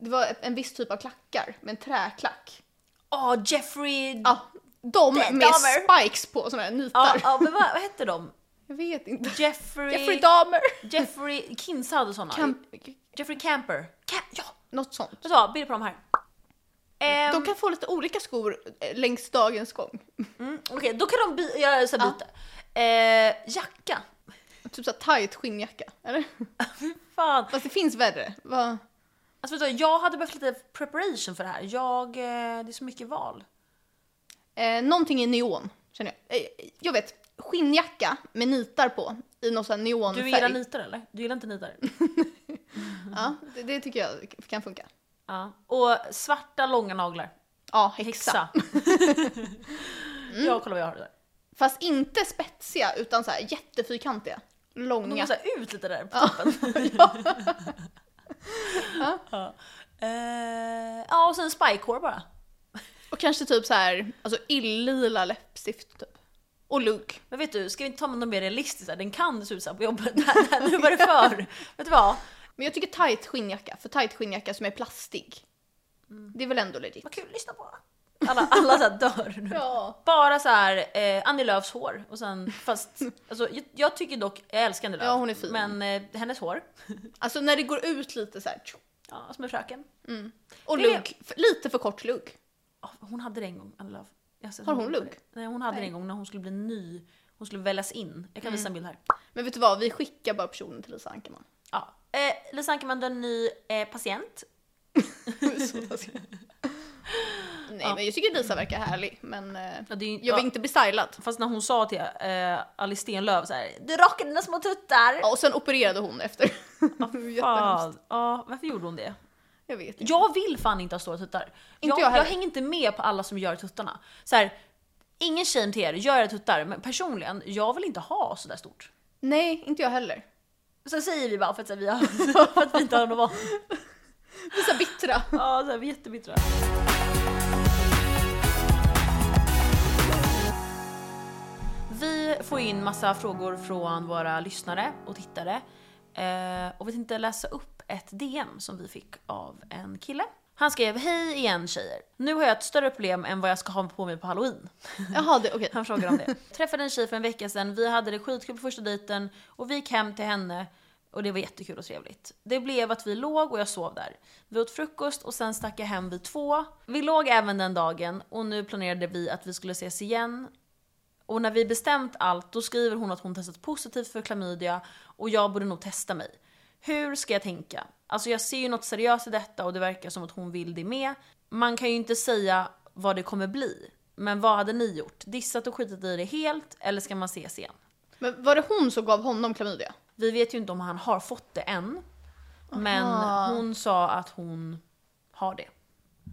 S2: Det var en viss typ av klackar med en träklack.
S1: Åh, Jeffrey...
S2: Ja, de
S1: Det-
S2: med
S1: damer.
S2: spikes på, såna här
S1: Ja,
S2: nitar.
S1: ja, men vad, vad hette de?
S2: Jag vet inte.
S1: Jeffrey...
S2: Jeffrey Dahmer.
S1: Jeffrey Kinsa hade såna.
S2: Kan,
S1: Jeffrey Camper. Cam ja!
S2: något sånt.
S1: Vet du vad? Bild på de här. Ehm,
S2: De kan få lite olika skor eh, längs dagens gång.
S1: mm, Okej, då kan de by- göra så här byta. Eh, jacka.
S2: Typ så här tight skinnjacka, eller?
S1: Fan.
S2: Fast det finns värre. Vad?
S1: Alltså, vet du, vad? jag hade behövt lite preparation för det här. Jag, eh, det är så mycket val.
S2: Eh, någonting i neon, känner jag. Eh, jag vet, skinnjacka med nitar på i någon sån här neonfärg.
S1: Du gillar nitar eller? Du gillar inte nitar?
S2: Ja, det, det tycker jag kan funka.
S1: ja. Och svarta långa naglar.
S2: Ja, häxa.
S1: Häxa. Mm. Jag kollar vad jag har det där.
S2: Fast inte spetsiga, utan så här jättefyrkantiga.
S1: De
S2: Långa.
S1: går så här ut lite där på toppen.
S2: Ja.
S1: ja. Eh, ja, och sen spikehår bara.
S2: Och kanske typ så här, alltså illila läppstift typ. Och lugg.
S1: Men vet du, ska vi inte ta med något mer realistiskt? här? Den kan se ut så här på jobbet. Här, här, nu var det för. vet du vad?
S2: Men jag tycker tight skinnjacka, för tight skinnjacka som är plastig.
S1: Mm.
S2: Det är väl ändå legit?
S1: Vad kul, lyssna på. Alla, alla så här dör nu.
S2: Ja.
S1: Bara så här, eh, Annie Lööfs hår. Och sen, fast, alltså, jag, jag tycker dock, jag älskar Annie Lööf.
S2: Ja, hon är fin.
S1: Men eh, hennes hår,
S2: Alltså när det går ut lite så här. tjo.
S1: ja, som en fröken.
S2: Och
S1: Det-
S2: lugg, f- lite för kort lugg.
S1: Ja, hon hade det en gång, Annie Lööf. Jag har sett
S2: Har
S1: en
S2: hon
S1: bild på
S2: lugg?
S1: det. Nej, hon hade det en gång när hon skulle bli ny. Hon skulle väljas in. Jag kan visa
S2: Mm.
S1: en bild här.
S2: Men vet du vad, vi skickar bara personen till Lisa Ankerman.
S1: Ja. Eh, Lisa Ankerman, du är en ny eh, patient.
S2: Så taskigt. Nej men jag tycker Lisa verkar härlig men eh,
S1: Ja, det är ju-
S2: jag vill
S1: ja.
S2: inte bli stylad.
S1: Fast när hon sa till eh, Alice Stenlöf så här, du rakar dina små tuttar.
S2: Ja, och sen opererade hon efter. Jättehemskt.
S1: Fan. Ja, varför gjorde hon det?
S2: Jag vet inte.
S1: Jag vill fan inte ha stora tuttar.
S2: Inte jag
S1: jag,
S2: heller.
S1: jag hänger inte med på alla som gör tuttarna. Så här, ingen shame till er, gör era tuttar. Men personligen, jag vill inte ha sådär stort.
S2: Nej, inte jag heller.
S1: Sen säger vi bara för att, så här, vi, har, för att vi inte har något val.
S2: Vi är så bittra.
S1: Ja, så här, vi är jättebittra. Vi får in massa frågor från våra lyssnare och tittare. Eh, och vi tänkte läsa upp ett DM som vi fick av en kille. Han skrev “Hej igen tjejer! Nu har jag ett större problem än vad jag ska ha på mig på halloween.
S2: Jaha, det, okej.
S1: Han frågar om det. Träffade en tjej för en vecka sedan, vi hade det skitkul på första dejten och vi gick hem till henne och det var jättekul och trevligt. Det blev att vi låg och jag sov där. Vi åt frukost och sen stack jag hem vid två. Vi låg även den dagen och nu planerade vi att vi skulle ses igen. Och när vi bestämt allt då skriver hon att hon testat positivt för klamydia och jag borde nog testa mig. Hur ska jag tänka? Alltså jag ser ju något seriöst i detta och det verkar som att hon vill det med. Man kan ju inte säga vad det kommer bli. Men vad hade ni gjort? Dissat och skitit i det helt eller ska man ses igen?
S2: Men var det hon som gav honom klamydia?
S1: Vi vet ju inte om han har fått det än. Men hon sa att hon har det.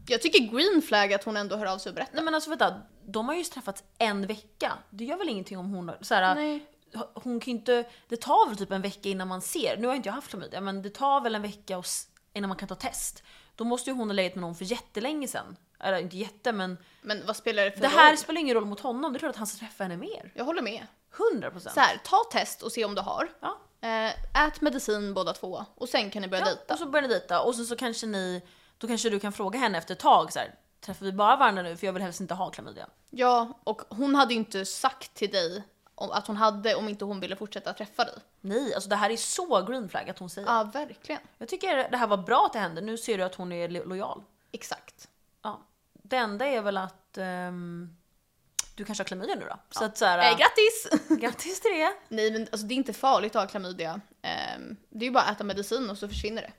S2: Jag tycker green flag att hon ändå hör av sig och berättar.
S1: Nej men alltså vänta, de har ju träffats en vecka. Det gör väl ingenting om hon... Så här,
S2: Nej.
S1: Hon kan ju inte... Det tar väl typ en vecka innan man ser. Nu har inte jag haft klamydia men det tar väl en vecka och, s- innan man kan ta test. Då måste ju hon ha legat med någon för jättelänge sen. Eller inte jätte men...
S2: Men vad spelar det för
S1: Det här
S2: roll?
S1: spelar ingen roll mot honom, det är klart att han ska träffa henne mer.
S2: Jag håller med.
S1: 100%.
S2: Så här, ta test och se om du har.
S1: Ja.
S2: Eh, ät medicin båda två och sen kan ni börja
S1: Ja,
S2: dejta.
S1: och så börjar ni dejta och sen så kanske ni, då kanske du kan fråga henne efter ett tag så här, träffar vi bara varandra nu för jag vill helst inte ha klamydia.
S2: Ja, och hon hade ju inte sagt till dig om, att hon hade om inte hon ville fortsätta träffa dig.
S1: Nej, alltså det här är så green flag att hon säger.
S2: Ja, verkligen.
S1: Jag tycker det här var bra att det hände, nu ser du att hon är lo- lojal.
S2: Exakt.
S1: Ja. Det enda är väl att ehm, du kanske har klamydia nu då? Så att så här,
S2: Eh, grattis!
S1: grattis till det!
S2: Nej men alltså, det är inte farligt att ha klamydia. Ehm, det är ju bara att äta medicin och så försvinner det.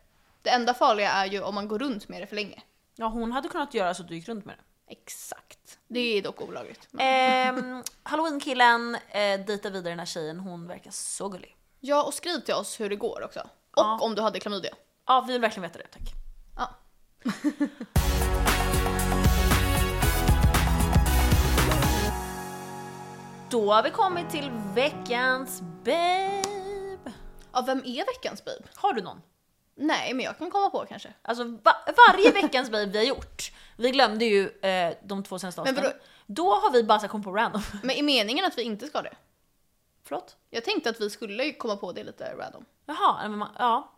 S2: Det enda farliga är ju om man går runt med det för länge.
S1: Ja, hon hade kunnat göra så att du gick runt med det.
S2: Exakt. Det är dock olagligt. Men-
S1: Ehm, Halloween-killen eh, dejtar vidare den här tjejen, hon verkar så gullig.
S2: Ja, och skriv till oss hur det går också. Och
S1: Ja.
S2: om du hade klamydia.
S1: Ja, vi vill verkligen veta det, tack.
S2: Ja.
S1: Då har vi kommit till veckans babe.
S2: ja, vem är veckans babe?
S1: Har du någon?
S2: Nej, men jag kan komma på kanske.
S1: Alltså va- varje veckans babe vi har gjort, vi glömde ju eh, de två senaste
S2: Men
S1: avsnitten. Då har vi bara så här kommit på random.
S2: Men är meningen att vi inte ska det?
S1: Förlåt?
S2: Jag tänkte att vi skulle ju komma på det lite random.
S1: Jaha, nej, men man, ja.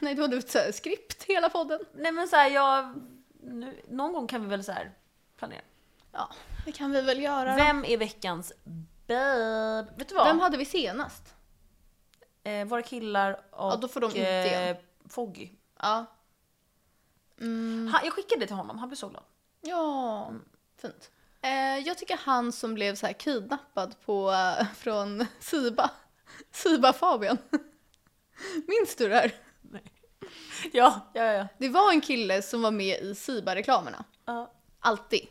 S2: Nej, du hade ett så här skript hela podden.
S1: Nej men såhär jag... Nu, någon gång kan vi väl så här planera.
S2: Ja, det kan vi väl göra. Vem,
S1: Vem är veckans babe? Vet du vad?
S2: Vem hade vi senast?
S1: eh, våra killar och
S2: Ja, då får de inte
S1: eh,
S2: igen.
S1: Foggy.
S2: Ja. Mm,
S1: Han, jag skickade det till honom, han blev så glad.
S2: Ja, fint. Eh, jag tycker han som blev så här kidnappad på, eh, från Siba. Siba Fabian. Minns du det här?
S1: Ja, ja, ja.
S2: Det var en kille som var med i Siba-reklamerna.
S1: ja.
S2: Alltid.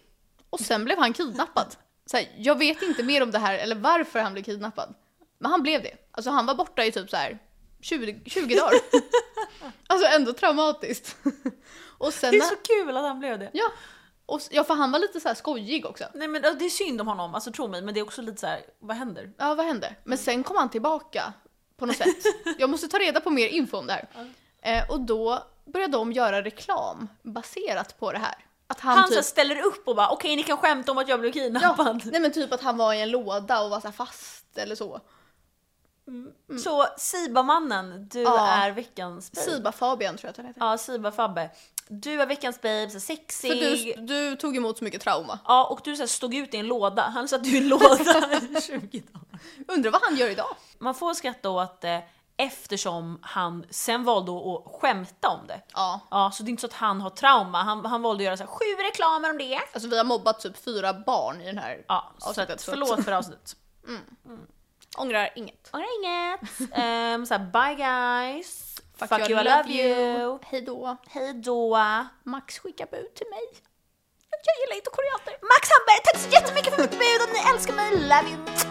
S2: Och sen blev han kidnappad. Så här, jag vet inte mer om det här eller varför han blev kidnappad. Men han blev det. Alltså han var borta i typ så här 20, 20 dagar. Alltså ändå traumatiskt. Och sen...
S1: Det är så kul att han blev det.
S2: Ja. Och, s- ja, för han var lite så här skojig också.
S1: Nej men alltså, det är synd om honom, alltså tro mig, men det är också lite så här, vad händer?
S2: Ja, vad hände? Men sen kom han tillbaka på något sätt. Jag måste ta reda på mer info om det här. Eh, och då började de göra reklam baserat på det här. Att han,
S1: Han så
S2: typ...
S1: här ställer upp och bara okej ni kan skämta om att jag blev
S2: Ja,
S1: kidnappad.
S2: nej men typ att han var i en låda och var så här fast eller så.
S1: Så Siba-mannen, du
S2: Ja.
S1: är veckans babe.
S2: Siba Fabian tror jag att han heter.
S1: Ja, Siba-Fabbe. Du är veckans babe, så sexig.
S2: För du, du tog emot så mycket trauma.
S1: Ja, och du så här stod ut i en låda. Han satt du i en låda i 20 dagar.
S2: Undrar vad han gör idag?
S1: Man får skratta åt det eftersom han sen valde att skämta om det.
S2: Ja.
S1: Ja, så det är inte så att han har trauma. Han, han valde att göra så här, sju reklamer om det.
S2: Alltså vi har mobbat typ fyra barn i den här.
S1: Ja, så
S2: Avsnittet,
S1: att,
S2: så-
S1: förlåt för avsnittet.
S2: Ångrar inget.
S1: Ångrar inget. Um, så här, bye guys. Fuck,
S2: you,
S1: you, I love you.
S2: Hej då.
S1: Hej då.
S2: Max skicka bud till mig.
S1: Jag gillar inte koreater. Max Hamberg, tack så jättemycket för mitt bud. Om ni älskar mig, love you.